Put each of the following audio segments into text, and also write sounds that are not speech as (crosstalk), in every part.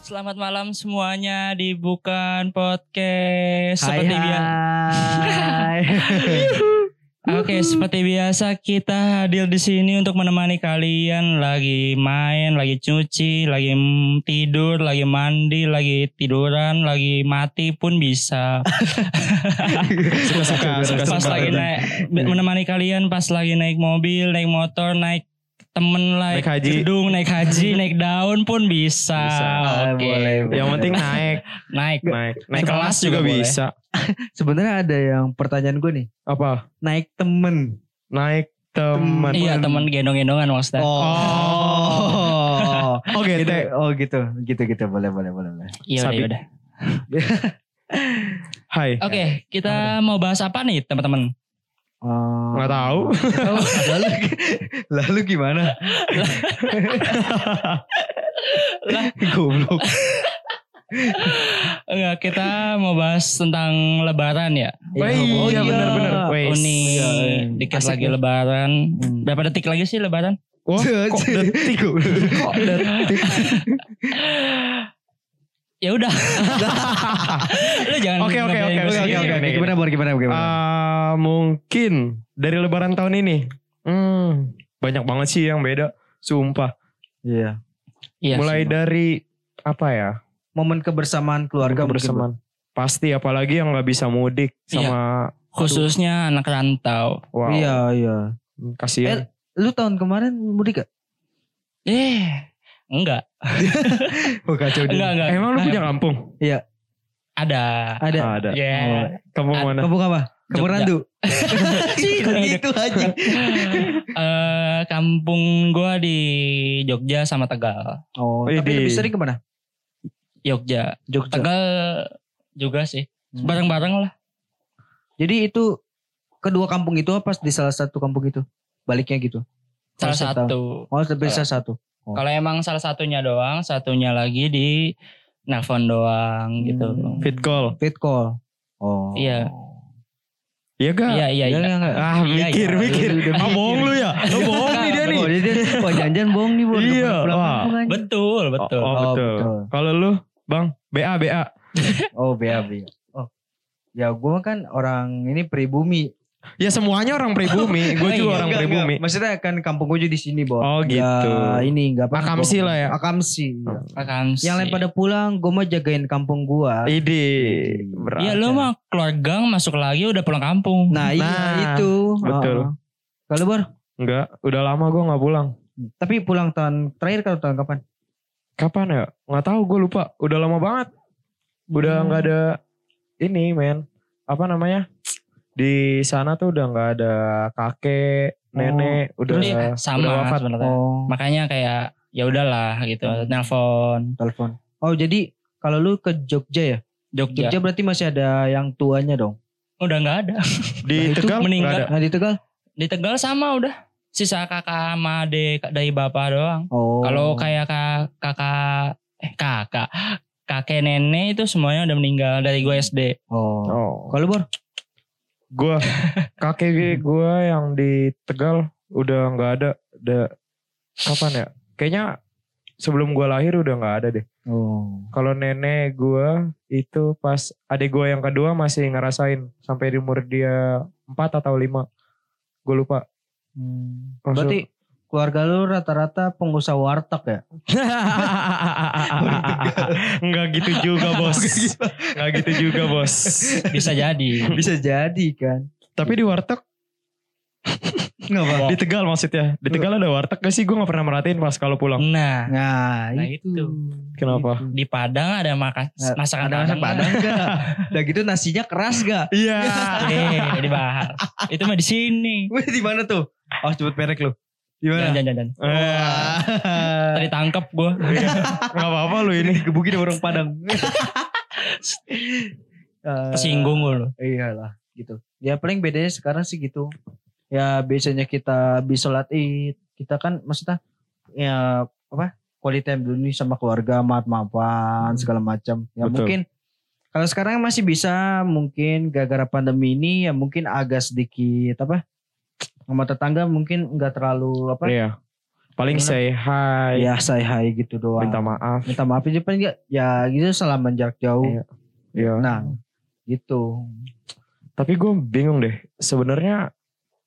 Selamat malam semuanya di Bukan Podcast. Hai, Seperti biasa. (laughs) hai. Oke, seperti biasa kita hadir di sini untuk menemani kalian lagi main, lagi cuci, lagi mm, tidur, lagi mandi, lagi tiduran, lagi mati pun bisa. Suka-suka, pas suka-suka. lagi naik menemani kalian pas lagi naik mobil, naik motor, naik temen Naik haji. gedung, naik haji, naik daun pun bisa. Bisa, Ah, Oke. Ah, boleh, boleh. Yang penting naik, naik. Iya. (laughs) naik, naik kelas kelas juga juga boleh. bisa. Sebenarnya ada yang pertanyaan gue nih. Apa? Naik temen. Naik teman. Iya, temen gendong-gendongan maksudnya. (laughs) Oh. Oh, gitu. gitu. Oh gitu. Gitu gitu boleh boleh boleh. boleh. Iya, udah, Sapi. iya udah. (laughs) Hai. Oke, kita mau bahas apa nih teman-teman? Oh. Nggak tahu. Oh, lalu, lalu gimana? Lah. (laughs) Goblok. Enggak, kita mau bahas tentang lebaran ya. Oh, iya, benar, benar. Oh Wes. nih, Iya, iya. dikit Asik lagi nih. lebaran. Hmm. Berapa detik lagi sih lebaran? Wah, kok detik? (laughs) Kok detik? Ya udah. (laughs) Lu jangan Oke, oke, ngebayangin oke, sendiri. Oke oke oke. Gimana Bor? Gimana gimana? Ah, mungkin dari lebaran tahun ini. Hmm, banyak banget sih yang beda. Sumpah. Iya. Iya. Mulai dari apa ya? Momen kebersamaan keluarga mungkin, Bor. bersamaan. Pasti apalagi yang nggak bisa mudik Iya. sama khususnya anak rantau. wow. Iya iya. Kasihan. Lu tahun kemarin mudik gak? Eh, enggak. Oh kacau Enggak, enggak. Emang lu Nah, punya kampung? Ah, Ada. Ada. Ada. Oh. Ya. Kampung Ada. mana? Kampung apa? Kampung Jogja. (laughs) Randu. Sih, Gitu aja. Eh, kampung gua di Jogja sama Tegal. Oh, Wih, tapi di- lebih sering kemana? Jogja, Jogja. Tegal juga sih. Hmm. Bareng-bareng lah. Jadi itu kedua kampung itu apa di salah satu kampung itu? Baliknya gitu. Salah Konsep satu. Oh, lebih salah satu. Kalau emang salah satunya doang, satunya lagi di nelpon doang gitu. Hmm. Fit call. Fit call. Oh. Iya. Iya gak? Iya iya Iya iya. iya enggak? Ah Iya, mikir iya. mikir. Udah Ah mikir. bohong lu (laughs) ya. Lu bohong nih dia nih. Oh, jadi dia- oh, jangan-jangan bohong nih, Bu. Udah Iya, pulang wah. kampung aja. Betul, Oh, betul. oh, betul. Kalau lu Bang BA BA. Oh, BA, BA. Oh. Ya, gua kan orang ini pribumi. Ya semuanya orang (laughs) pribumi. Oh, Gue juga iya, orang Enggak, pribumi. enggak. Maksudnya kan kampung gua juga di sini, Bo. Oh, gitu. Ya, ini enggak apa-apa. Akamsi lah ya. Akamsi. iya. Vakansi. Yang lain pada pulang, gua mah jagain kampung gua. Ide. Berat. Iya lu mah keluar gang masuk lagi udah pulang kampung. Nah, iya Nah, itu. betul. Heeh. Kalau Bor, Enggak. Udah lama gue nggak pulang. tapi pulang tahun terakhir kalau tahun kapan? Kapan ya? Nggak tahu gue lupa. Udah lama banget. Udah Hmm. nggak ada ini men. Apa namanya? Di sana tuh udah nggak ada kakek, nenek, udah Terus udah sama wafat. sebenarnya. Oh, Makanya kayak ya udahlah gitu, Hmm. nelpon telepon. Oh, jadi kalau lu ke Jogja ya? Jogja. Jogja berarti masih ada yang tuanya dong. Udah nggak ada. di Nah, itu Tegal nggak meninggal. ada. Nah, di Tegal? Di Tegal sama udah. Sisa kakak sama adek dari bapak doang. Oh. Kalau kayak ka- kakak eh kakak kakek nenek itu semuanya udah meninggal dari gue SD. Oh. Oh. Kalau Bor? gua kakek gua yang di Tegal udah nggak ada udah kapan ya kayaknya sebelum gua lahir udah nggak ada deh Oh. kalau nenek gua itu pas adik gua yang kedua masih ngerasain sampai di umur dia 4 atau 5 gue lupa Hmm. Berarti keluarga lu rata-rata pengusaha warteg ya? nggak gitu (laughs) juga bos nggak gitu juga bos (laughs) Bisa jadi. Bisa jadi kan. tapi di warteg Enggak apa. di Tegal maksudnya di Tegal ada warteg gak sih gue nggak pernah merhatiin pas kalau pulang Nah, Nah, Nah, itu. itu. Kenapa? Itu. di Padang ada maka- Nah, masakan Ada masak Padang. padang enggak? Udah gitu nasinya keras gak? iya Eh, dibahas. Itu mah di sini. Wih, di mana tuh? Oh, sebut merek lu. Di Jangan mana? jangan jangan. Eh, Tadi tangkep gue. Iya. Eh, Gak apa-apa lu ini. digebukin orang Padang. Tersinggung gue loh. Iyalah, gitu. Ya paling bedanya sekarang sih gitu. Ya biasanya kita habis sholat id, kita kan maksudnya ya apa? Quality time dulu nih sama keluarga, maaf-maafan segala macam. Ya Hmm. Betul. mungkin kalau sekarang masih bisa, mungkin gara-gara pandemi ini ya mungkin agak sedikit apa? Sama tetangga mungkin nggak terlalu apa? Iya. Paling say hi, ya say hi gitu doang minta maaf. minta maaf aja paling nggak- ya gitu salaman jarak jauh Iya. Ya. nah gitu Tapi gue bingung deh. Sebenarnya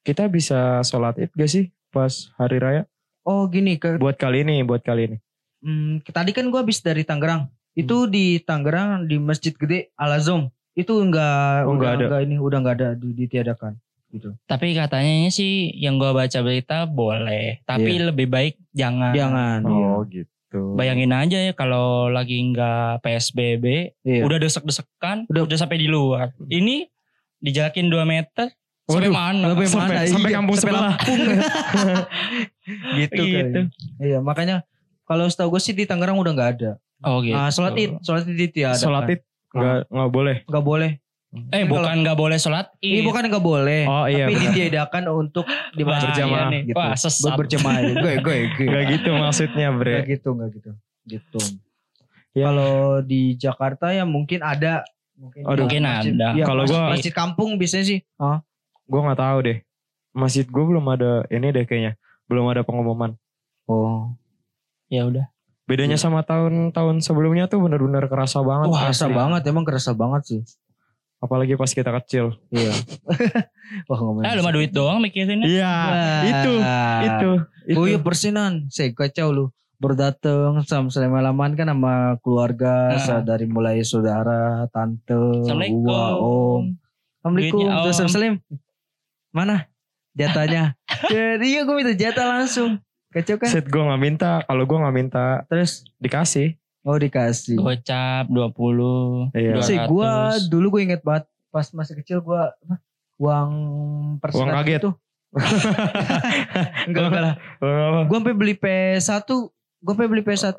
kita bisa sholat id gak sih pas hari raya? oh gini ke Buat kali ini, buat kali ini. Hmm, tadi kan gue habis dari Tangerang. Hmm. Itu di Tangerang di Masjid Gede Al Azom itu enggak Oh, udah enggak ada. ini udah enggak ada di- ditiadakan gitu. Tapi katanya sih yang gua baca berita boleh, tapi Iya. lebih baik jangan. Jangan. Iya. Oh gitu. Bayangin aja ya kalau lagi nggak PSBB, Iya. udah desek-desekan, Udah. udah. sampai di luar. Ini dijalakin 2 meter, sampai Waduh, mana? sampai mana? sampai, sampai Iya, kampung sampai sebelah. (laughs) gitu, kali. Gitu. Iya, makanya kalau setahu gue sih di Tangerang udah enggak ada. Oh gitu. Ah, sholat Id, sholat Id ditiadakan. Sholat id nggak nggak boleh. Enggak boleh. Eh bukan nggak boleh sholat Ini id. bukan enggak boleh. Iya. Oh iya. Eh, tapi benar. ditiadakan untuk di Wah, masjid Berjamaah. iya nih. gitu. Wah sesat. Buat berjamaah. ya, Gue gue gue. Gak gitu maksudnya bre. Gak gitu, gak gitu. Gitu. Ya. Kalau di Jakarta ya mungkin ada. Mungkin, Aduh. Mungkin masjid- ada. Ya, Kalau masjid, gua- masjid kampung biasanya sih. Gue nggak tahu deh. Masjid gue belum ada ini deh kayaknya. Belum ada pengumuman. Oh. Ya udah. Bedanya sama tahun-tahun sebelumnya tuh bener-bener kerasa banget. Wah, kerasa asli. banget, emang kerasa banget sih. Apalagi pas kita kecil. Iya. (laughs) Wah, ngomongin. Nah. Eh lu mah duit doang mikirinnya. Iya. Ah, itu, Itu. Itu. Oh iya persinan, saya kacau lu. Berdatang sama selama-laman kan sama Nah. keluarga, Ah. sa- dari mulai saudara, tante, Assalamualaikum. uwa, om. Assalamualaikum, Duitnya, Om. Ustaz Salim. Mana jatahnya? Jadi iya gue minta jatah langsung. Kacau kan? Set gue nggak minta. Kalau gue nggak minta Terus dikasih. oh dikasih. Gocap 20. Iya. Sih gue 200. dulu gue inget banget pas masih kecil gue uang persinan Uang kaget. itu. enggak enggak lah. Oh, Gue sampai beli PS1, gue sampai beli PS1.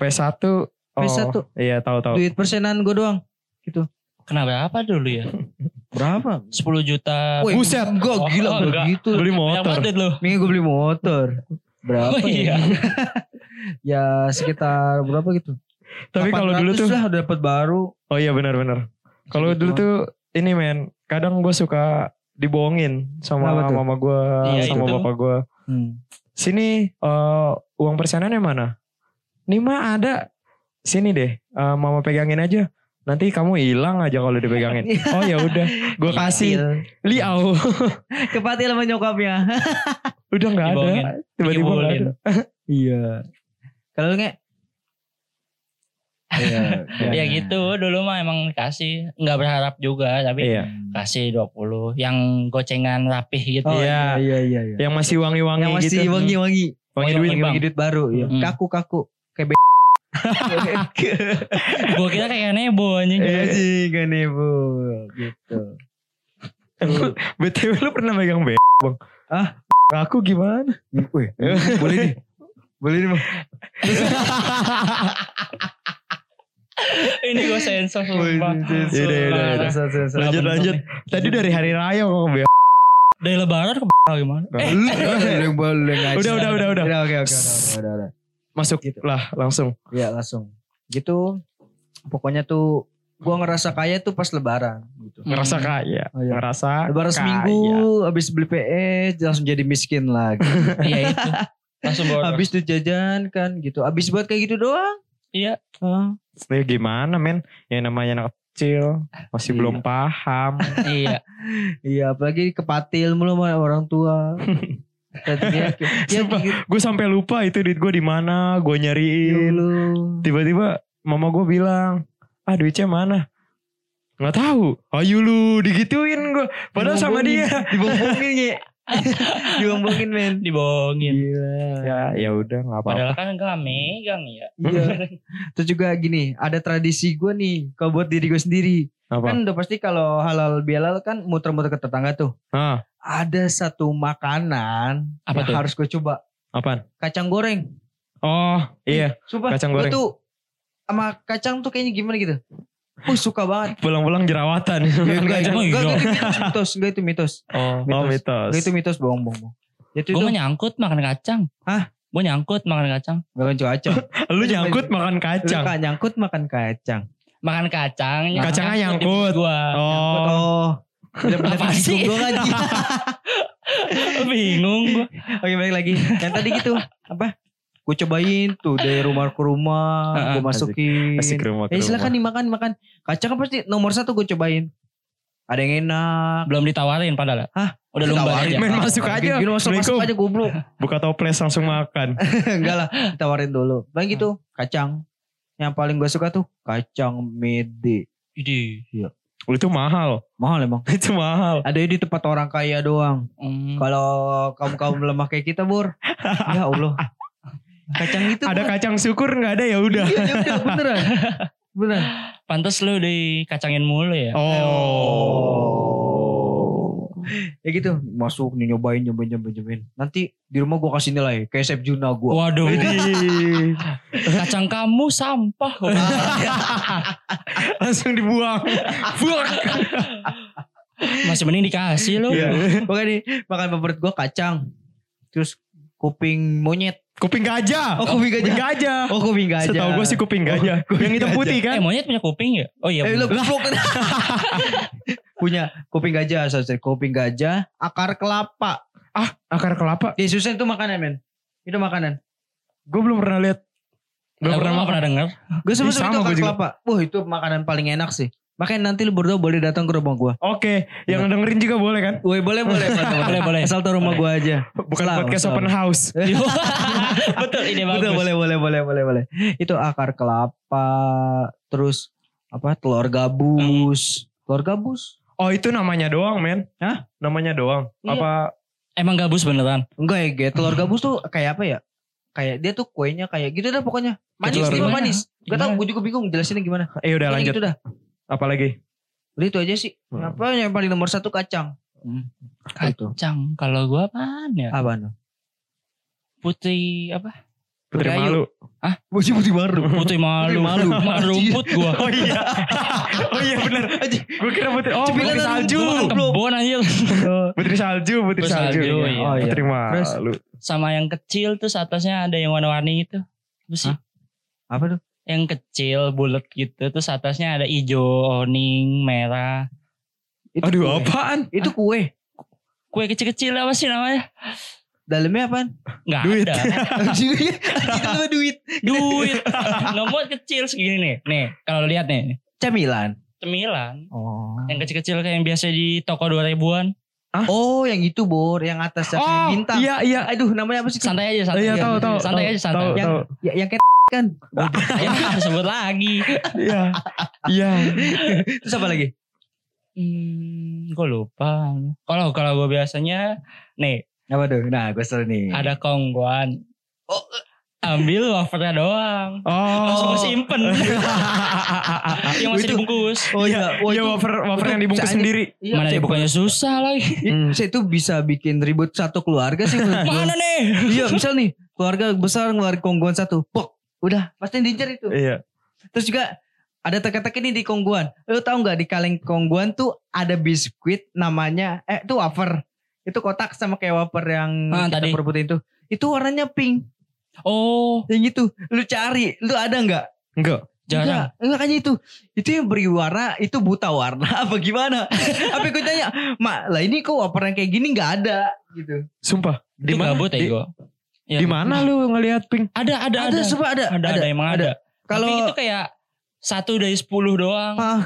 P1. Oh, P1. Iya tahu-tahu. Duit persenan gue doang. Kena berapa dulu ya? Berapa? 10 juta. Woi, buset. Enggak Oh, gila enggak. begitu. Beli Banyak banget motor. duit lu. Minggu gue beli motor. Berapa? Oh, iya. ya? (laughs) ya sekitar berapa gitu? Tapi kalau dulu 800 tuh. lah udah dapat baru. Oh iya benar-benar. Kalau dulu tuh ini men, kadang gue suka dibohongin sama Kenapa tuh? mama gue, Iya, sama itu. bapak gue. Hmm. Sini eh, uang persenannya mana? Nih mah ada. Sini deh, eh, mama pegangin aja. Nanti kamu hilang aja kalau dipegangin. oh ya udah, gue kasih. Iya. Liau, (laughs) Kepatil sama nyokapnya. udah nggak ada. Dibohongin. Tiba-tiba nggak Dibohongin. ada. Iya. Kalau lu nge? Iya. (laughs) Ya gitu dulu mah emang kasih. Nggak berharap juga tapi Iya, kasih 20 yang gocengan rapih gitu. Oh Iya. iya iya iya. iya. yang masih wangi-wangi Yang masih gitu. wangi-wangi. Wangi duit. Bang. Wangi duit baru. Iya. Hmm. Kaku-kaku. Kayak be... Gua kira kayak nebo anjing. Iya sih gak nebo. Gitu. BTW lu pernah megang B, bang? Eh, Ah? Aku gimana? Wih, (laughs) boleh nih. Boleh nih bang. Ini gua sensor sumpah. Yaudah, iya, yaudah, yaudah. Lanjut, lanjut. Tadi dari hari raya ngomong B. Dari lebaran ke gimana? Eh, Udah, Udah udah, udah, udah. Udah oke oke udah, udah, udah, udah. Masuk lah langsung. Ya langsung. Gitu. Pokoknya tuh gua ngerasa kaya tuh pas lebaran gitu. Ngerasa Hmm. kaya. Oh, iya. Ngerasa Lebaran kaya. seminggu habis beli PS langsung jadi miskin lagi. (laughs) Iya itu. Langsung bawa. habis tuh jajan kan gitu. Habis buat kayak gitu doang. Iya. Hah? Ini gimana men? Ya namanya anak kecil. Masih Iya. belum paham. Iya. Iya, apalagi kepatil mulu sama orang (laughs) tua. Tadinya kayak- ya, Sumpah. gitu gue sampai lupa itu duit gue di mana. Gue nyariin. dulu. Tiba-tiba mama gue bilang. Ah duitnya mana? Nggak tahu. Ayo lu digituin gue. Padahal sama Dibombongin. dia. (laughs) Dibombongin ya. Dibombongin men. Iya. Dibohongin. Gila. Ya ya udah nggak apa-apa. Padahal kan gak megang ya. Iya. (laughs) Terus juga gini, ada tradisi gue nih kalau buat diri gue sendiri. Apa? Kan udah pasti kalau halal bihalal kan muter-muter ke tetangga tuh. Ah, Ada satu makanan Apa yang tuh? harus gue coba, apaan? kacang goreng. Oh iya. Sumpah, Kacang gua goreng. tuh sama kacang tuh kayaknya gimana gitu. Gue suka (laughs) banget. Pulang-pulang jerawatan. Enggak, enggak, kacang, enggak, iya. enggak, itu mitos, enggak itu mitos. Oh. (laughs) Oh Mitos. mitos. Enggak itu mitos bohong, bohong. bohong. Ya itu Gue tuh, nyangkut makan kacang. Hah? Gue nyangkut makan kacang. enggak kan kacang. Lu nyangkut makan kacang. Kak nyangkut makan kacang. Makan kacang. Kacangnya nyangkut. Gue. Oh. Oh. Udah (laughs) (laughs) Apa sih? Gue lagi. Bingung gue. Oke balik lagi. Yang tadi gitu apa? Gue cobain tuh dari rumah ke rumah, gue Heeh. masukin. Kasih ke rumah ke Eh rumah. silakan dimakan makan. Kacang kan pasti nomor satu gue cobain. Ada yang enak. Belum ditawarin padahal. ya? Hah? Udah lomba Ditawarin, aja. Iya. men. masuk aja. Gini, masuk, masuk Assalamualaikum. aja goblok. Buka toples langsung makan. Enggak lah, ditawarin dulu. Bang gitu, kacang. Yang paling gue suka tuh kacang mede. Ide. Oh, itu mahal. (laughs) Mahal emang. Itu mahal. Ada di tempat orang kaya doang. Hmm. Kalau kamu kaum lemah kayak kita, Bur. Ya Allah. Kacang itu Ada kacang syukur nggak ada ya udah. Iya, ya udah, beneran. Beneran. Pantes lu dikacangin mulu ya. Oh. (laughs) Ya gitu, masuk nih nyobain, nyobain, nyobain, nyobain. Nanti di rumah gue kasih nilai, kayak Sep Juna gue. Waduh, Widih. kacang kamu sampah. Gua bilang. Langsung dibuang. Buang. Masih mending dikasih lu. Iya. (laughs) Pokoknya nih, makan favorit gue kacang. Terus kuping monyet. Kuping gajah. Oh, kuping gajah. Kuping gajah. Oh, kuping gajah. Setahu gue sih kuping gajah. yang hitam putih kan. Eh monyet punya kuping ya? Oh iya. Eh, lu bener. goblok. (laughs) Punya kuping gajah, sorry, sorry. kuping gajah, akar kelapa. Akar kelapa. Yesusnya itu makanan, men. Itu makanan. Gue belum pernah lihat. Lah, Belum gua pernah nggak makan. pernah dengar. Gue sama Ih, itu sama akar gua juga. kelapa. Wah, itu makanan paling enak sih. Makanya nanti lu berdua boleh datang ke rumah gue. Oke, yang dengerin juga boleh kan? Woi, boleh, boleh. teman-teman. Boleh, boleh. Asal tau rumah gue aja. Bukan Selalu, podcast selalu. open house. (laughs) Betul ide bagus. Betul, boleh, boleh, boleh, boleh, boleh. Itu akar kelapa, terus apa telur gabus. Telur gabus? Oh itu namanya doang men Hah? Namanya doang Iya. Apa Emang gabus beneran. Enggak ya, Ge. Telur gabus tuh kayak apa ya? Kayak dia tuh kuenya kayak gitu dah pokoknya. Manis, telur tiba gimana? manis. Gak Gimana? tau, gue juga bingung jelasinnya gimana. Eh Pokoknya udah lanjut Gitu dah. Apalagi Udah itu aja sih. Hmm. Apa yang paling nomor satu kacang? Hmm. Itu. Kacang. Kalau gua apaan ya? Apa no? Putih apa? Putri Budayu. Malu Bocil putih baru. Putih malu. malu. (laughs) Malu rumput gua. Oh iya Oh iya bener Gue kira putri Oh Cepilan putri lu, salju Gua kan kebon anjir. (laughs) Putri salju Putri Putri salju salju, iya. Oh iya Putri Terus? Malu Sama yang kecil terus atasnya ada yang warna-warni itu. Apa sih? Hah? Apa tuh? yang kecil bulat gitu terus atasnya ada hijau oning merah Itu Aduh kue. apaan Itu kue. kue kecil-kecil apa sih namanya Dalamnya apaan? (laughs) nggak Duit. ada Itu mah duit. (laughs) duit nomor kecil segini nih nih kalau lihat nih Camilan. cemilan Oh. yang kecil-kecil kayak yang biasa di toko 2000-an Oh, yang itu Bor, yang atas yang kayak Oh bintang. iya iya Aduh, namanya apa sih? santai aja santai Iya aja. tahu tahu santai tahu, aja santai tahu, yang, tahu. Ya, yang kayak (laughs) kan. yang harus sebut lagi Iya Iya Terus apa lagi? hmm, gue lupa kalau kalau gue biasanya nih Apa tuh? Nah, gue seru nih. ada kongguan Oh. ambil wafernya doang langsung gue Oh (laughs) simpen yang masih Itu- dibungkus (laughs) Oh iya, oh, Iya itu- wafer wafer itu yang dibungkus bisa aja. sendiri Iya, mana saya- dibukanya susah lagi (laughs) Hmm. Saya itu bisa bikin ribut satu keluarga sih menurut gua. mana nih Iya, misal nih keluarga besar ngeluarin kongguan satu. Pok, udah pasti diincer itu. Iya Terus juga ada teka-teki nih di kongguan. Lo tau nggak di kaleng kongguan tuh ada biskuit namanya eh itu wafer. Itu kotak sama kayak wafer yang Ah, kita tadi. perbutin itu. Itu warnanya pink. oh Yang itu lu cari, lu ada nggak? Enggak jarang Enggak, enggak kayaknya itu. Itu yang beri warna, itu buta warna (laughs) apa gimana? Apa gue tanya, Mak, lah ini kok waperan kayak gini nggak ada gitu. Sumpah di mana? gabut ya Di- gue Ya. Iya. Di mana lu ngelihat pink (laughs) ada ada ada Ada, coba ada. ada ada emang ada Kalau tapi itu kayak satu dari sepuluh doang Ah,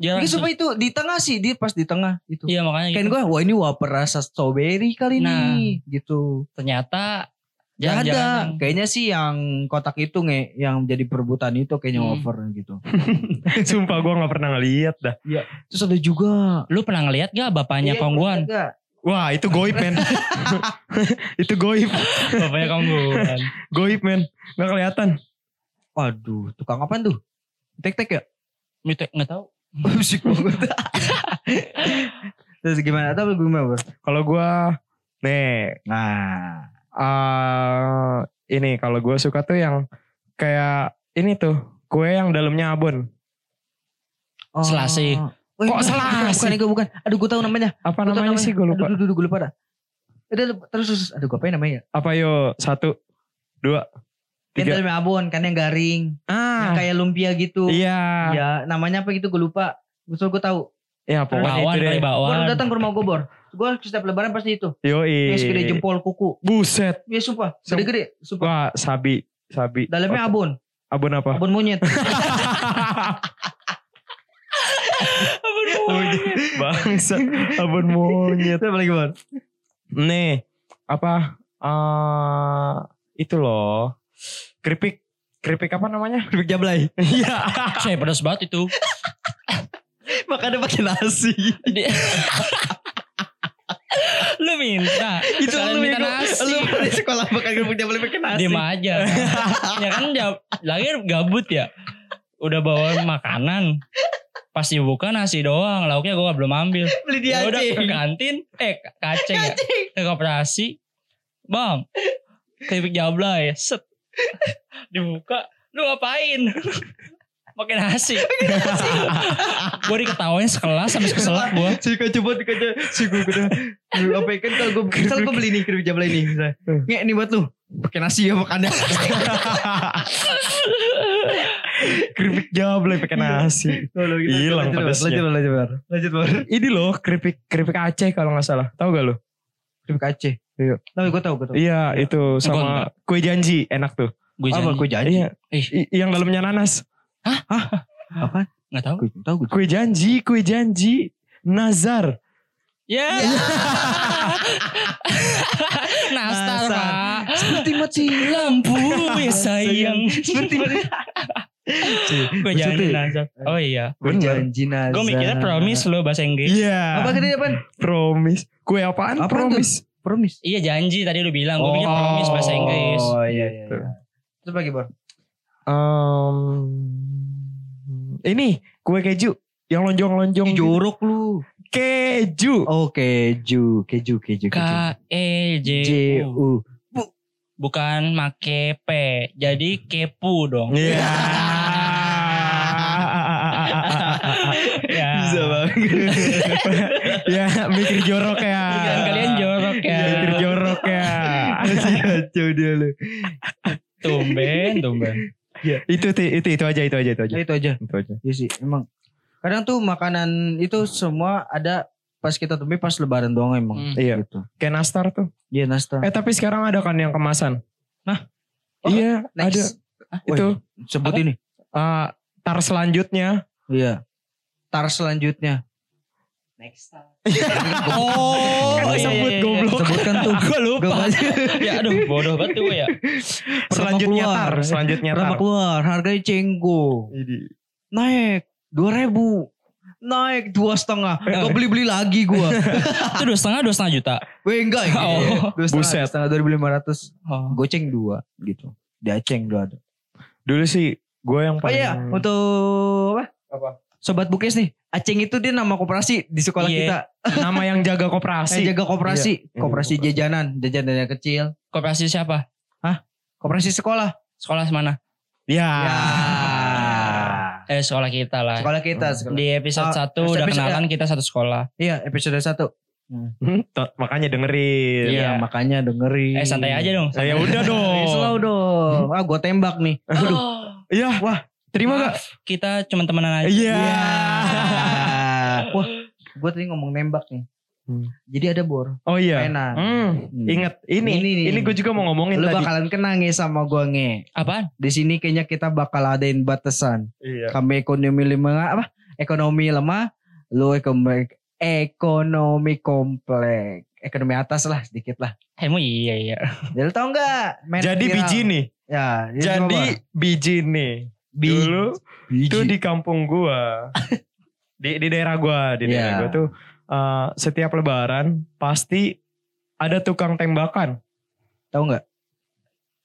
jarang ini supaya itu di tengah sih, dia pas di tengah itu. iya makanya Kan gitu. gue, wah ini wafer rasa strawberry kali Nah. ini gitu. ternyata Gak jarang ada. jarang Kayaknya sih yang kotak itu nge, yang jadi perebutan itu kayaknya Hmm. wafer gitu. Sumpah gue gak pernah ngeliat dah Terus ada juga. lu pernah ngeliat gak bapaknya Iya, kongguan ada. Wah itu goib (laughs) men Itu goib bapaknya kongguan Goib men Gak kelihatan Waduh, tukang apaan tuh? Tek-tek ya? Mite- nggak tahu Musik banget. (laughs) Terus gimana? Atau gue gimana? Bro? Kalau gua Nih Nah. eh Ini kalau gua suka tuh yang Kayak Ini tuh Kue yang dalamnya abon Oh. Selasi. Wih, bukan, Kok selasi? Bukan, bukan, bukan. Aduh gue tahu namanya. Apa Gua tahu namanya, sih gue lupa Aduh, aduh, aduh, gue lupa dah. Udah, lu- terus, terus. Aduh gue apa namanya? Apa yo Satu Dua Yang Tiga dalamnya abon kan yang garing. Yang Ah kayak lumpia gitu. Iya Ya namanya apa gitu gue lupa. Gue gue tahu. Ya pokoknya Bawan itu deh. kali bawan. Gua datang ke rumah gue bor. Gue setiap lebaran pasti itu. Yoi. Yang segede jempol kuku. Buset. Ya sumpah. Sem- Gede-gede. Sumpah. Wah sabi. Sabi. Dalamnya abon. Abon (laughs) apa? Abon monyet. (laughs) Bangsa. Abon monyet. Itu apa lagi bor? Nih. Apa. eh itu loh. Keripik. Keripik apa namanya? Keripik jablay. Iya. Ah, Saya pedas banget itu. Makanya pakai nasi. Di- lu minta. (laughs) itu Sekalian lu minta bego. nasi. Lu di sekolah makan kerupuk jambal pakai nasi. Diem aja. kan. ya kan jawab, lagi gabut ya. Udah bawa makanan. Pasti buka nasi doang. Lauknya gua belum ambil. Beli di Ya udah Aceh. ke kantin. Eh ke kaceng ya. Ke koperasi. Bang. Keripik jablay. Set. Dibuka. Lu ngapain? Pakai nasi. gue diketawain sekelas habis keselak gue. (laughs) Si kau coba si kau si gue udah lu apa kan kalau gue misal gue beli nih kerupuk jambal ini misalnya. Ngek nih buat lu. Pakai nasi ya makannya. (laughs) keripik jablay pakai nasi. Lalu gitu. Hilang Lanjut, Bor. pedasnya. Lanjut Bor, lanjut Bor. Lanjut Bor. Ini loh keripik keripik Aceh kalau nggak salah. Tahu gak lo? Kerupuk Aceh. Iya. Tapi gue tahu gue tahu. Iya itu enggak. sama kue janji enak tuh. Gue janji. Apa gue janji? Iya. I- yang dalamnya nanas. Apa? Gak tau. Gue tahu (laughs) gue. Kue janji, kue janji. Nazar. (laughs) Ya. Nastar Nastar. pak. Seperti mati. Lampu ya sayang. Seperti mati. Gue Maksudnya- ya? janji Nazar. Oh iya. Bener. Janji nazar. Gue mikirnya promise lo bahasa Inggris. Iya. Apa tadi apa? Promise. Kue apaan? Apaan tuh? promise. Promise. Iya janji tadi lu bilang. Gue mikir promise bahasa Inggris. Oh iya iya. Gitu. iya. Terus lagi Bor. Em, ini kue keju yang Ih, lonjong-lonjong. gitu. jorok lu. Keju. Oh keju, keju, keju, K keju. E J J U. U. Bukan make P. Jadi kepu (laughs) dong. Iya. Iya. Ya. Bisa banget. ya mikir jorok ya. Iya, Pikiran Kan kalian jorok ya. Mikir jorok ya. Masih kacau dia lu. Tumben, tumben. itu, itu itu itu aja itu aja itu aja. Ya, itu aja. Itu aja. Iya sih, emang. Kadang tuh makanan itu semua ada pas kita temui pas lebaran doang emang. Hmm. Iya. Gitu. Kayak nastar tuh. Iya nastar. Eh tapi sekarang ada kan yang kemasan. Nah. Oh, Iya, ada. Next. Itu Sebut Ah, Apa? ini. eh, tar selanjutnya. Iya. Tar selanjutnya. Next time. Oh, Kan disebut, goblok. Sebutkan tuh. Gue Gak iya, lupa. banyak. ya aduh bodoh banget gue ya. Selanjutnya keluar. tar, selanjutnya Berapa tar. keluar? Harganya cenggo. Naik. 2000 Naik dua setengah. Eh, Gak beli beli lagi (laughs) gua. Itu dua setengah, dua setengah juta. Weh enggak ya. Oh. Dua setengah, Buset. dua setengah dua ribu lima ratus. Oh. Goceng dua gitu. Di Aceng dua ada. Dulu sih gue yang Oh paling iya, untuk apa? Apa? Sobat Bukis nih. Aceng itu dia nama koperasi di sekolah Iya. kita. nama yang jaga Saya koperasi. jaga koperasi, Iya, koperasi koperasi. jajanan, jajanan yang kecil, Koperasi siapa? koperasi sekolah. Sekolah mana? Ya. Ah. Eh sekolah kita (laughs) lah. Ya. Sekolah kita, Iya. sekolah. Di episode Ah, 1 episode- udah episode- kenalan kita satu sekolah. Iya, episode 1. (laughs) Tuh, Makanya dengerin. Iya. Iya, makanya dengerin. Eh santai aja dong. Ya udah dong. Eh, slow dong. Hmm. Ah, gue tembak nih. (laughs) Aduh. Iya. Wah, terima gak? Kita cuma temenan aja. Iya. Wah, gue tadi ngomong nembak nih. Hmm. Jadi ada bor, Oh iya. mainan. Hmm, ingat ini. Ini Ini, nih. gue juga mau ngomongin Lu tadi. bakalan kena nge sama gue nge. Apaan? Di sini kayaknya kita bakal adain batasan. Iya. Kami ekonomi lemah apa? Ekonomi lemah, lu ekonomi ekonomi komplek. Ekonomi atas lah sedikit lah. Hemu iya iya. Jadi tau nggak? mainan Jadi viral. biji nih. Ya, Jadi coba. biji nih. Bi- Dulu biji. itu di kampung (laughs) gua. di di daerah gua, di daerah Iya. gua tuh eh, setiap lebaran pasti ada tukang tembakan, Tahu nggak?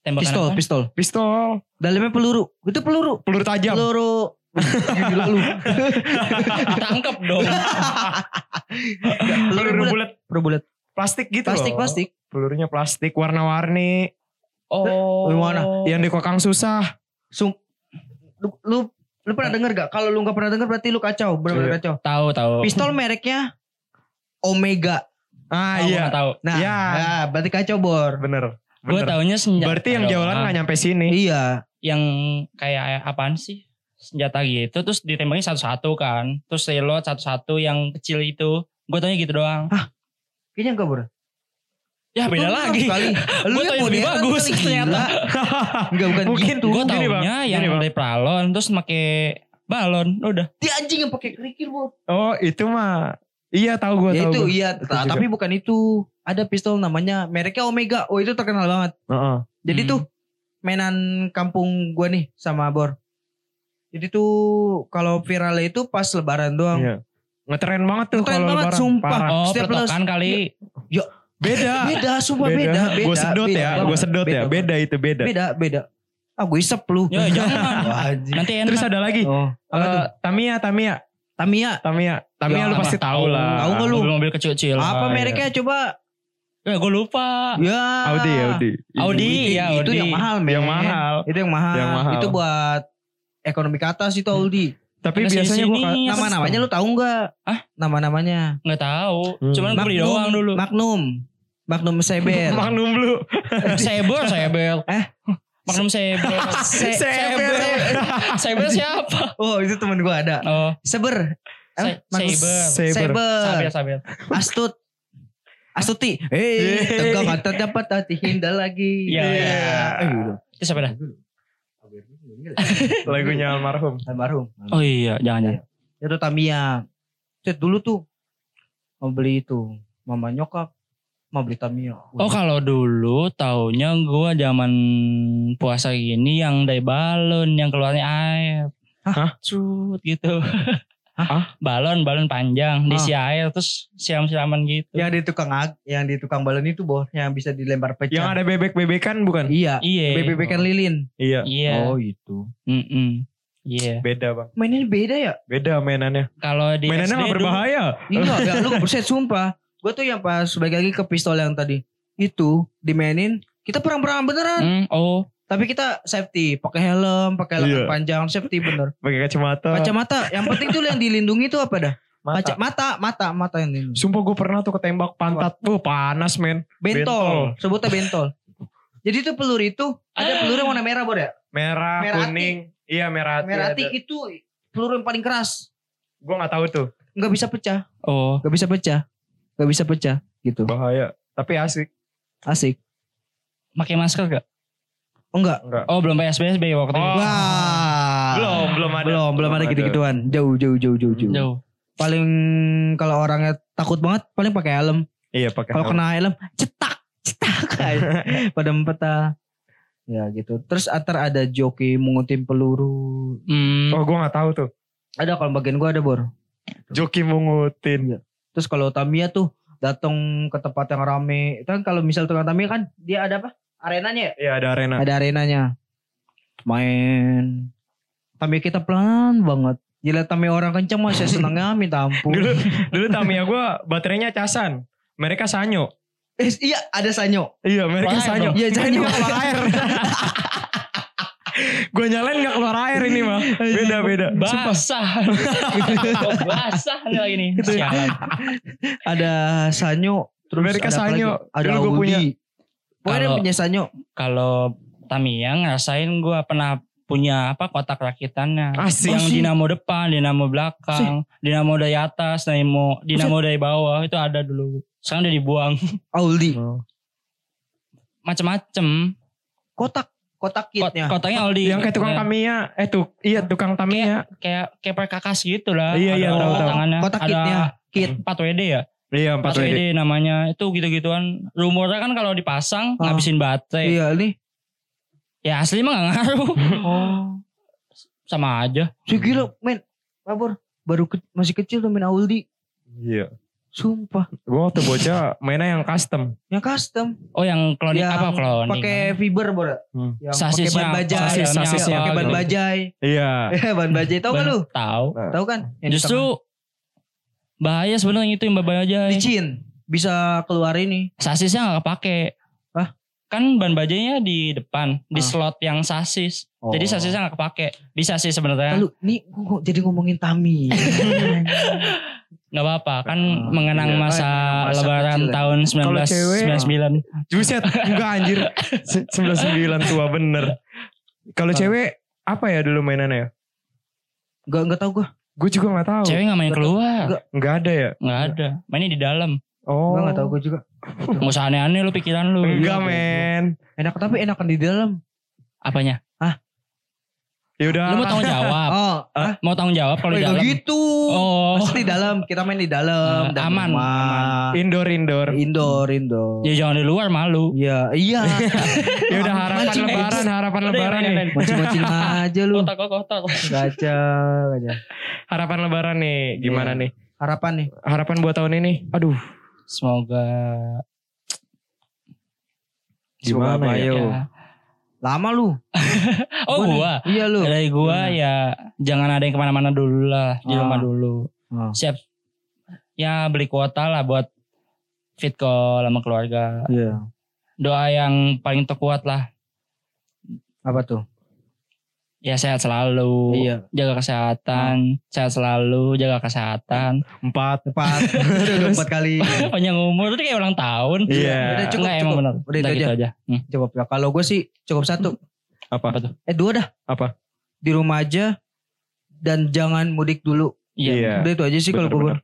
Tembakan Pistol, apaan? pistol. pistol, Dalamnya peluru. Itu peluru. peluru tajam. (laughs) Peluru. Gila lu. Tangkep dong. Peluru bulat. bulat Peluru bulat. plastik gitu Plastik, loh. plastik. Pelurunya plastik warna-warni Oh. (laughs) Gimana? yang dikokang susah. Sung. Lu, lu, lu pernah denger gak? Kalau lu gak pernah denger berarti lu kacau. Bener-bener Iya. kacau. tahu tahu. Pistol mereknya Omega. Ah Tahu, iya. gua tahu. Nah, Iya. nah, berarti kacau bor. Bener. Gue bener. taunya Ah. senjata. Berarti yang doang. jualan nggak nyampe sini. Iya. Yang kayak eh, apaan sih? senjata gitu terus ditembaknya satu-satu kan terus reload satu-satu yang kecil itu gue taunya gitu doang Ah, Kayaknya enggak bro. ya beda Lu lagi (laughs) Kali. Gua tau yang lebih modern bagus kali, ternyata. gila. (laughs) Enggak bukan Mungkin gitu. gue Gini, Bang. taunya yang Gini, Bang. dari pralon terus make balon udah Dia anjing yang pakai kerikil bro. Oh itu mah. Iya tahu gue Ya tahu. itu gua. iya. Aku ta- juga. Tapi bukan itu. Ada pistol namanya mereknya Omega. Oh itu terkenal banget. Heeh. Jadi Hmm. tuh mainan kampung gua nih sama Bor. Jadi tuh kalau viral itu pas lebaran doang. Iya. Ngetren banget tuh Ngetren kalau banget, lebaran. sumpah. Parah. oh Setiap lu- peletokan kali Beda. Beda, sumpah beda, beda. Gue sedot beda ya. banget. Gue sedot ya. banget. Beda itu beda. Beda, beda. Ah gue isep lu. ya jangan Wah, (laughs) anjing. nanti enak Terus ada lagi. Oh, apa eh, tuh? Tamia, Tamia, Tamiya. Tamia, Tamia Ya, lu apa? pasti tahu lah. Tahu nggak lu? mobil-mobil kecil-kecil Apa iya. mereknya coba? ya gue lupa Ya. Audi, Audi. Audi Itu- ya Itu Audi yang mahal, men. Yang mahal. Itu yang mahal. Yang mahal. Itu buat ekonomi ke atas itu Audi. Hmm. Tapi Ada biasanya gue sini-sini yang Nama-namanya lu tahu nggak? Iya, Hah? Nama-namanya. nggak tahu Hmm. cuman gue beli doang dulu Magnum. Magnum Seber. Magnum lu. (laughs) Sebel, (laughs) Sebel. Eh? Magnum Sebel. Se- Sebel. Sebel siapa? Oh, itu temen gua ada. Oh, Seber. Eh, Se- Saber. Seber. Saber. Sabel, Sabel. Astut. (laughs) Astuti. Hei, Yeay. tegak kata dapat hati hindar lagi. Iya. Eh, udah. Itu siapa dah? Lagunya almarhum. ya? Almarhum. Oh iya, jangan jangan. Itu Tamiya. Cet dulu tuh mau beli itu. Mama nyokap mau beli Tamiya. Wah, Oh kalau dulu taunya gua zaman puasa gini yang dari balon yang keluarnya air. Hah? Cut gitu. Hah? Balon, balon panjang diisi air terus siram-siraman gitu. Ya, yang di tukang ag- yang di tukang balon itu boh yang bisa dilempar pecah. Yang ada bebek-bebekan bukan? Iya. Iya. BBB kan lilin. Iya. Iya. Oh itu. Mm-mm. Iya. Beda bang. Mainnya beda ya? Beda mainannya. Kalau di Mainannya SD nggak dulu- berbahaya. Iya, ya, lu buset sumpah. Gue tuh yang pas balik lagi ke pistol yang tadi itu dimainin kita perang-perang beneran. Hmm, oh, Tapi kita safety, pakai helm, pakai lengan Iya. panjang, safety bener. Pakai kacamata. Kacamata, yang penting tuh yang dilindungi tuh apa dah? Mata. Kaca- mata, mata, mata yang dilindungi. Sumpah gue pernah tuh ketembak pantat. Wah panas men. Bentol, sebutnya bentol. Jadi tuh peluru itu ada Eh. peluru yang warna merah, Bor ya? Merah, Merah hati. kuning. Iya merah hati. Merah hati itu peluru yang paling keras. Gue gak tahu tuh. Nggak bisa pecah, oh. nggak bisa pecah. Nggak bisa pecah gitu. Bahaya. Tapi asik. Asik. Pakai masker gak? Oh enggak. Enggak. Oh, belum PSBB waktu itu. Oh. Wah. Belum, belum ada. Belum, belum ada gitu-gituan. Jauh, jauh, jauh, jauh, jauh. Jauh. Paling kalau orangnya takut banget paling pakai helm. Iya pakai. Kalau helm. kena helm, cetak, (laughs) cetak. Pada ah. peta. Ya gitu. Terus antar ada joki menguntim peluru. Hmm. Oh gue gak tahu tuh. Ada kalau bagian gua ada bor. Joki mungutin. Terus kalau Tamiya tuh datang ke tempat yang rame. Itu kan kalau misal tukang Tamiya kan dia ada apa? Arenanya ya? Iya ada arena. Ada arenanya. Main. Tamiya kita pelan banget. Gila Tamiya orang kenceng mah saya senangnya ya, minta ampun. Dulu dulu Tamiya gue baterainya casan. Mereka sanyo. Eh, iya ada Sanyo. Iya mereka Bahaya sanyo. dong. Iya Sanyo. keluar air. (laughs) gue nyalain gak keluar air ini mah. Beda beda. Basah. (laughs) Kok basah nih lagi nih. ya. Sialan. (laughs) ada Sanyo. Terus Mereka ada apa Sanyo. lagi? Ada Dulu gua Audi. punya. Pokoknya dia Kalau- punya Sanyo. Kalau Tamiya ngerasain gue pernah punya apa kotak Ah, rakitannya. Asik. Yang dinamo depan, dinamo belakang, dinamo dari atas, dinamo dinamo dari bawah itu ada dulu. Sekarang udah dibuang. (laughs) Audi. Hmm. Macem-macem. Kotak. Kotak Kot- kitnya. kotaknya Aldi. Yang kayak tukang Tamiya. Eh tuh. Iya tukang Tamiya. Kayak kayak perkakas gitu lah. Iya, iya, Ada tahu, tahu. tangannya. Oh, kotak ada kitnya. Kit. 4WD ya? Iya 4 WD namanya itu gitu-gituan rumornya kan kalau dipasang Ah. ngabisin baterai Iya nih. ya asli mah gak ngaruh (laughs) Oh. sama aja Saya gila men. Babor. Baru ke- masih kecil tuh main Audi. Iya. Sumpah. Gue waktu bocah mainnya yang custom. Yang custom. oh yang kloning Yang apa kan? kloning Pakai fiber bro. Hmm. Yang pakai Sasisnya ban apa, bajai. dalamnya sasisnya apa Pakai ban gitu. bajai. (laughs) Iya. Eh, ban bajai. Tahu gak Ban- lu? tahu Tahu kan? Yang di justru bahaya sebenarnya itu yang bahaya tengah. licin. Bisa keluar ini. sasisnya gak kepake Hah? kan ban bajanya di depan di Ah. slot yang sasis jadi Oh. sasisnya gak kepake bisa sih sebenarnya Lalu nih gua kok jadi ngomongin (laughs) Tami. nggak apa-apa kan Ah, mengenang iya. masa Oh, iya, masa lebaran kecil ya. Oh. tahun Kalau cewek- 1999 Juset, enggak anjir. Se- 99 tua bener. Kalau cewek apa ya dulu mainannya? ya? Enggak enggak tahu gua. Gue juga nggak tahu. Cewek nggak main keluar. Nggak ada ya? Nggak ada. Mainnya di dalam. Oh. Gua enggak tahu gua juga. Nggak usah aneh-aneh lu pikiran lu. Enggak Iya, men. Enak tapi enakan di dalam. Apanya? Ya udah. Lu mau tanggung jawab? Oh, ah, mau tanggung jawab kalau di enggak dalam? gitu. Oh. Pasti di dalam, kita main di Eh, dalam, dalam aman, rumah. Indoor indoor. Indoor, indoor. Ya jangan di luar malu. Iya, iya. Ya udah harapan Mancing, eh, lebaran, harapan Udah, lebaran udah, nih. udah. Macin-macin aja lu. Kotak kotak. Gaca, gaca. Harapan lebaran nih. Gimana Iya. nih? Harapan nih. Harapan buat tahun ini. Aduh. Semoga Semoga Gimana baik ya? Yo. ya. Lama lu. Oh Gua gua. Iya lu. Dari gua Gimana? ya jangan ada yang kemana-mana dulu lah di Ah. rumah dulu. Ah. Siap. Ya beli kuota lah buat fit ke sama keluarga. Iya. Doa yang paling terkuat lah. Apa tuh? Ya sehat selalu. Iya. Ah. Jaga kesehatan. Sehat selalu. Jaga kesehatan. Empat. Empat. Udah empat kali. (laughs) Panjang umur itu kayak ulang tahun. Udah Iya. Iya. Iya. cukup, Enggak emang cukup. benar. Udah itu gitu aja. Hmm. Cukup ya. Kalau gue sih cukup satu. Apa? Apa tuh? Eh dua dah. Apa? Di rumah aja. Dan jangan mudik dulu. Iya. Udah itu aja sih kalau gue. bener.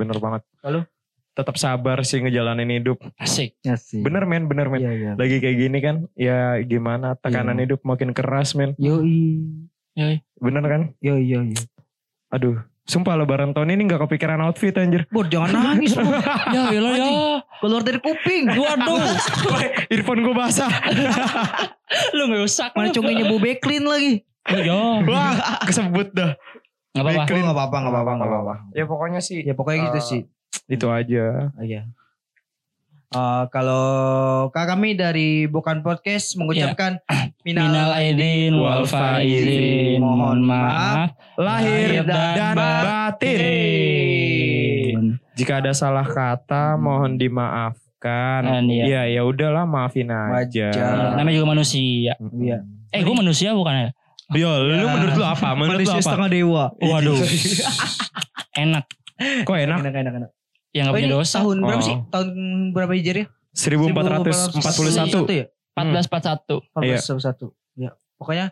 Bener banget. Lalu? Tetap sabar sih ngejalanin hidup. Asik. Ya sih. Bener men, bener men. Iya, iya. Lagi kayak gini kan, ya gimana tekanan Iya. hidup makin keras men. Yoi. Bener kan? Yoi, yoi. Aduh, sumpah lebaran tahun ini gak kepikiran outfit anjir. Bor jangan nangis. Bor. (laughs) Ya ilah ya. Keluar dari kuping. Waduh. Earphone gue basah. (laughs) (laughs) Lu merusak. Mana lu. cunginya Bu Beklin lagi. Iya. Wah, kesebut dah. Gak apa-apa. Beklin. Nggak apa-apa, nggak apa-apa, nggak apa-apa. Ya pokoknya sih Ya pokoknya gitu Eh, sih. itu aja. Oh, Iya. Eh, kalau kak kami dari bukan podcast mengucapkan (clears throat) minal, Minal aidin wal faizin. Mohon maaf. Lahir Lahir dan dan batin. Jika ada salah kata Hmm. mohon dimaafkan. Dan ya. Ya ya udahlah maafin Eh, Wajar. aja. Namanya juga manusia. Iya. Eh gue manusia bukan ya? Yo, lu menurut lu apa? Menurut lu Manusia apa? setengah dewa. Waduh. (laughs) Enak. Kok enak? Enak enak enak. Yang gak Oh, ini punya dosa. tahun berapa Oh. sih? Tahun berapa hijriah? 1441. 1441 ya? 1441. Hmm. 1441. Ya. Pokoknya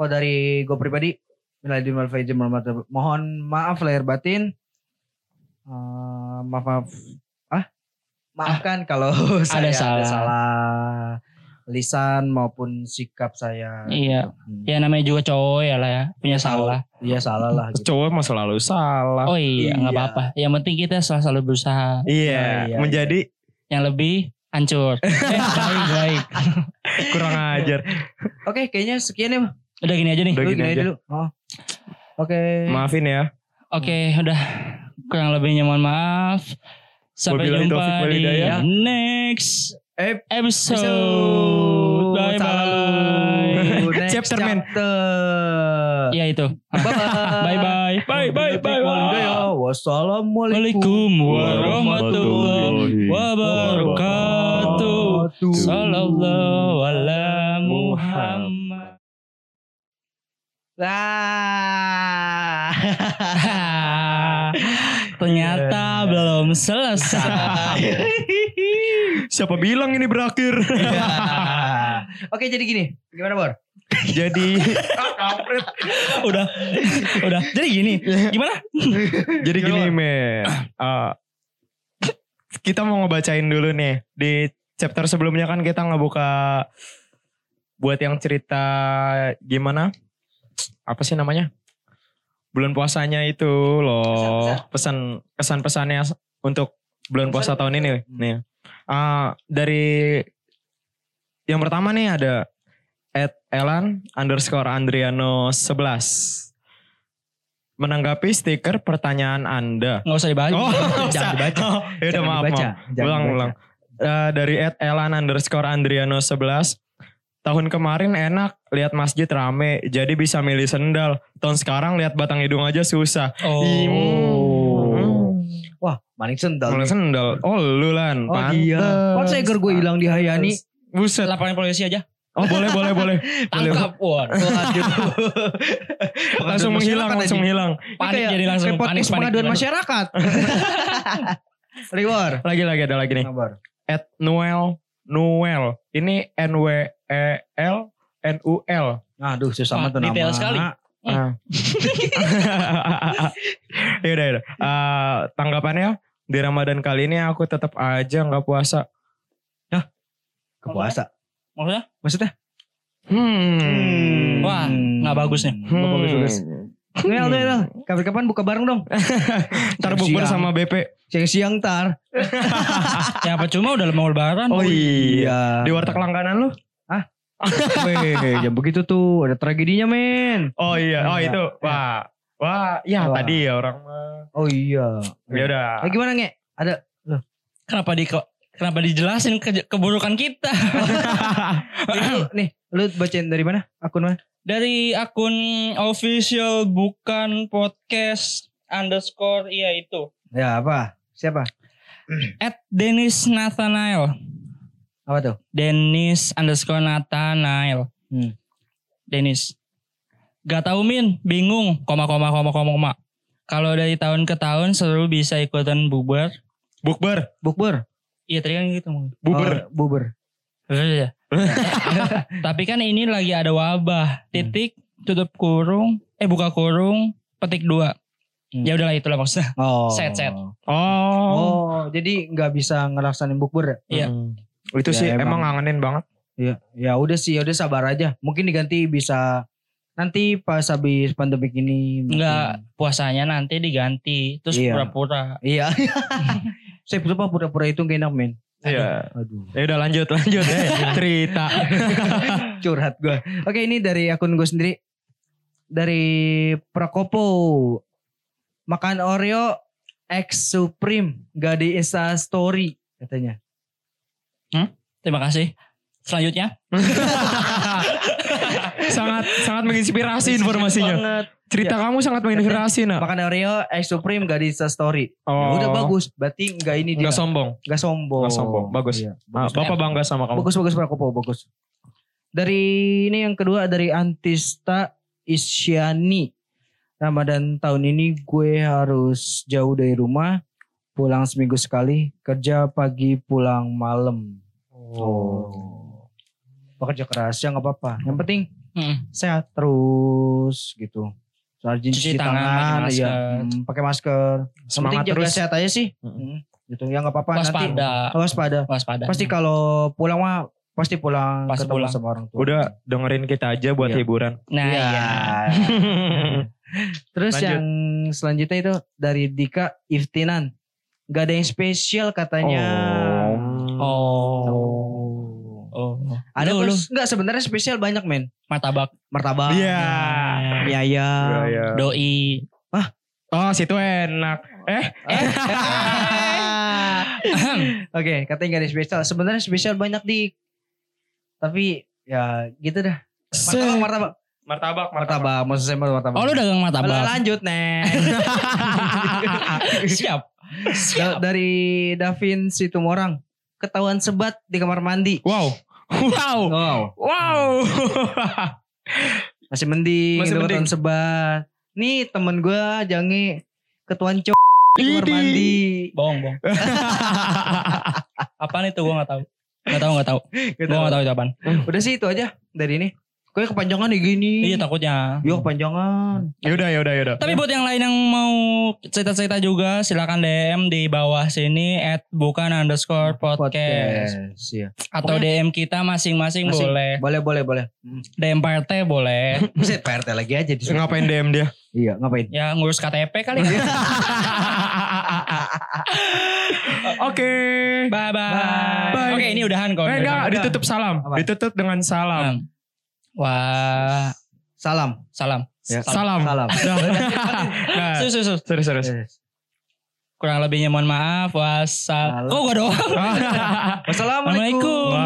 kalau dari gue pribadi minal aidin wal faizin. Mohon maaf- Mohon maaf lahir batin. Eh, maaf maaf. Ah? Maafkan kalau (laughs) saya ada salah. salah. lisan maupun sikap saya. Iya. Hmm. Ya namanya juga cowok ya lah ya. Punya salah. Iya salah lah gitu. Cowok mah selalu salah. Oh iya Iya. nggak apa-apa. Yang penting kita selalu, selalu berusaha. iya, Iya, menjadi Yang lebih hancur. (laughs) eh, baik baik. kurang (laughs) ajar. Oke, kayaknya sekian ya. Bang. Udah gini aja nih. Udah Lu gini gini aja aja. dulu. Oh. Oke. Maafin ya. Oke, udah kurang lebihnya mohon maaf. Sampai Wabillahi jumpa taufiq wal di hidayah. next Eh, episode. Bye Salah bye. lu. (laughs) Next Chapter, man. chapter. (laughs) Iya itu. Bye bye. Bye bye bye bye. Wassalamualaikum Waalaikumsalam warahmatullahi wabarakatuh. Sallallahu ala Muhammad. Wah. Ternyata belum (laughs) selesai. Siapa bilang ini berakhir? (laughs) Oke, jadi gini. Gimana, Bor? Jadi udah, udah. Jadi gini, gimana? Jadi gini men, Eh, kita mau ngebacain dulu nih di chapter sebelumnya kan kita ngebuka buat yang cerita gimana? Apa sih namanya? Bulan puasanya itu loh pesan kesan pesannya untuk bulan puasa tahun ini nih. Eh, dari yang pertama nih ada at Elan underscore Andriano 11 menanggapi stiker pertanyaan Anda. Oh, Nggak usah dibaca. usah. Jangan dibaca. Oh, ya udah Jangan maaf, dibaca, maaf. jangan Ulang, dibaca. ulang. Eh, dari at Elan underscore Andriano 11. Tahun kemarin enak lihat masjid rame, jadi bisa milih sendal. Tahun sekarang lihat batang hidung aja susah. Hmm. Oh. Wah, manik sendal. Milih sendal. Oh, lu lan. Oh iya. Kok seger gue hilang di Hayani? Buset. Laporan polisi aja. Oh, boleh, boleh, (laughs) boleh. Boleh. Tangkap. Waduh. Waduh. Langsung menghilang, Masyarakat langsung aja. menghilang. Panik Kayak jadi langsung. Repot Panik, kes panik. pengaduan Waduh. masyarakat. (laughs) Reward. Lagi, lagi ada lagi nih. Kabar. at Noel Noel ini N W E L N U L Aduh susah Wah, banget tuh nama. Ah, detail sekali. Eh. Ah. (laughs) yaudah, yaudah. Eh, tanggapannya di Ramadan kali ini aku tetap aja nggak puasa. Ke puasa. Maksudnya? Maksudnya? Hmm. Wah, nggak bagus nih. Nggak bagus, bagus. Noel, Hmm. Noel, kapan-kapan buka bareng dong. Ntar bukber Siang. sama BP. Siang-siang tar. Ya apa cuma udah mau lebaran. Oh Iya. iya. Di warteg langganan lu? (laughs) Weh, jangan begitu tuh. Ada tragedinya, men. Oh iya. Oh Iya. itu. Wah. Wah, ya Wah. tadi ya orang mah. Oh iya. Ya Eh, udah. gimana, Nge? Kenapa di kenapa dijelasin ke- keburukan kita? (clears throat) Nih, lu bacain dari mana? Akun mana? Dari akun official bukan podcast underscore iya itu. Ya, apa? Siapa? At Dennis Nathanael. Apa tuh? Dennis underscore Nathanael. Hmm. Dennis. Gak tau Min, bingung. Koma, koma, koma, koma, koma. Kalau dari tahun ke tahun selalu bisa ikutan bubar. Bukber. Bukber. Iya tadi kan gitu. Mung. Bukber. Oh, buber. Iya. Tapi kan ini lagi ada wabah. Titik, tutup kurung, eh buka kurung, petik dua. Hmm. Ya udahlah itulah maksudnya. Oh. Set, set. Oh. Oh, jadi nggak bisa ngelaksanin bukber Iya. ya? Mm. Ya, Itu sih emang emang. ngangenin banget. Iya. Ya udah sih, ya udah sabar aja. Mungkin diganti bisa nanti pas habis pandemi ini. mungkin. Enggak. Puasanya nanti diganti, terus Iya. pura-pura. Iya. (laughs) Saya lupa pura-pura itu gak enak men. Iya. Aduh. Ya udah lanjut lanjut Eh, cerita. (laughs) Curhat gue. Oke ini dari akun gue sendiri. Dari Prakopo. Makan Oreo X Supreme. Gak di Insta Story katanya. Terima kasih. Selanjutnya, sangat sangat Iya. menginspirasi informasinya. Banget. Cerita Iya. kamu sangat menginspirasi, Nak. Makan Oreo X Supreme gak di Insta Story. Ya Oh. udah bagus. Berarti gak ini dia. Enggak sombong. Gak sombong. Nggak sombong, bagus. Iya. Ah, Bapak bangga sama kamu. Bagus bagus Prakopo, bagus. Dari ini yang kedua dari Antista Isyani. Ramadan tahun ini gue harus jauh dari rumah, pulang seminggu sekali, kerja pagi pulang malam. Oh. Oh. Pekerja keras ya nggak apa-apa. Yang penting Mm. sehat terus gitu. Rajin Cuci cuci, tangan, tangan, pakai ya, masker. mm, pakai masker. Yang penting Semangat jaga terus. sehat aja sih. Mm. Mm, Gitu ya nggak apa-apa nanti. waspada, Waspada. waspada. Pasti kalau pulang mah pasti pulang Pasti ketemu pulang. sama orang tua. Udah dengerin kita aja buat Iya. hiburan. Nah, Iya. iya. (laughs) Terus Lanjut. yang selanjutnya itu dari Dika Iftinan. Gak ada yang spesial katanya. Oh. Oh. Oh. Ada Lu, lu, lu. Enggak sebenarnya spesial banyak men. Martabak, Martabak. Iya. Mie ayam. Iya, (laughs) iya. doi. Oh, situ enak. Eh, Eh. Oke katanya gak ada yang spesial. Sebenarnya spesial banyak di. Tapi ya gitu dah. Martabak, Se- martabak. martabak, Martabak. Maksud saya martabak. Oh lu dagang Lah, martabak. Lanjut nih. Siap. Da- dari Davin Situmorang ketahuan sebat di kamar mandi. Wow. Wow. Wow, Wow. masih mending, udah Masih mending. ketahuan sebat. Nih temen gue jange ketuan cowok di kamar Idi. mandi. Bohong, bohong. Apaan itu gua gak tahu. Gak tahu, gak tahu. Gitu. Gua gak tahu itu apaan. Udah sih itu aja dari ini. Gue kepanjangan nih gini. Iya takutnya. Yo kepanjangan. (laughs) Yaudah, yaudah, yaudah. Tapi buat yang lain yang mau cerita-cerita juga silakan DM di bawah sini at bukan underscore podcast. Iya. Atau DM kita masing-masing Masing- boleh. Boleh boleh boleh. Hmm. DM PRT boleh. (laughs) Buset PRT lagi aja di sini. Ngapain DM dia? Iya ngapain? ya ngurus KTP kali (laughs) ya. Oke. Bye Bye. bye. Oke ini udahan kok. Eh, enggak, Udah. ditutup salam. Apa? Ditutup dengan salam. Wah, (laughs) Salam. salam. Ya. Salam. Salam. Nah, Sus, sus, sus. serius, (laughs) serius. Yes. Kurang lebihnya mohon maaf. Wassalam. Salam. Kok gua doang? Wassalamualaikum. Assalamualaikum.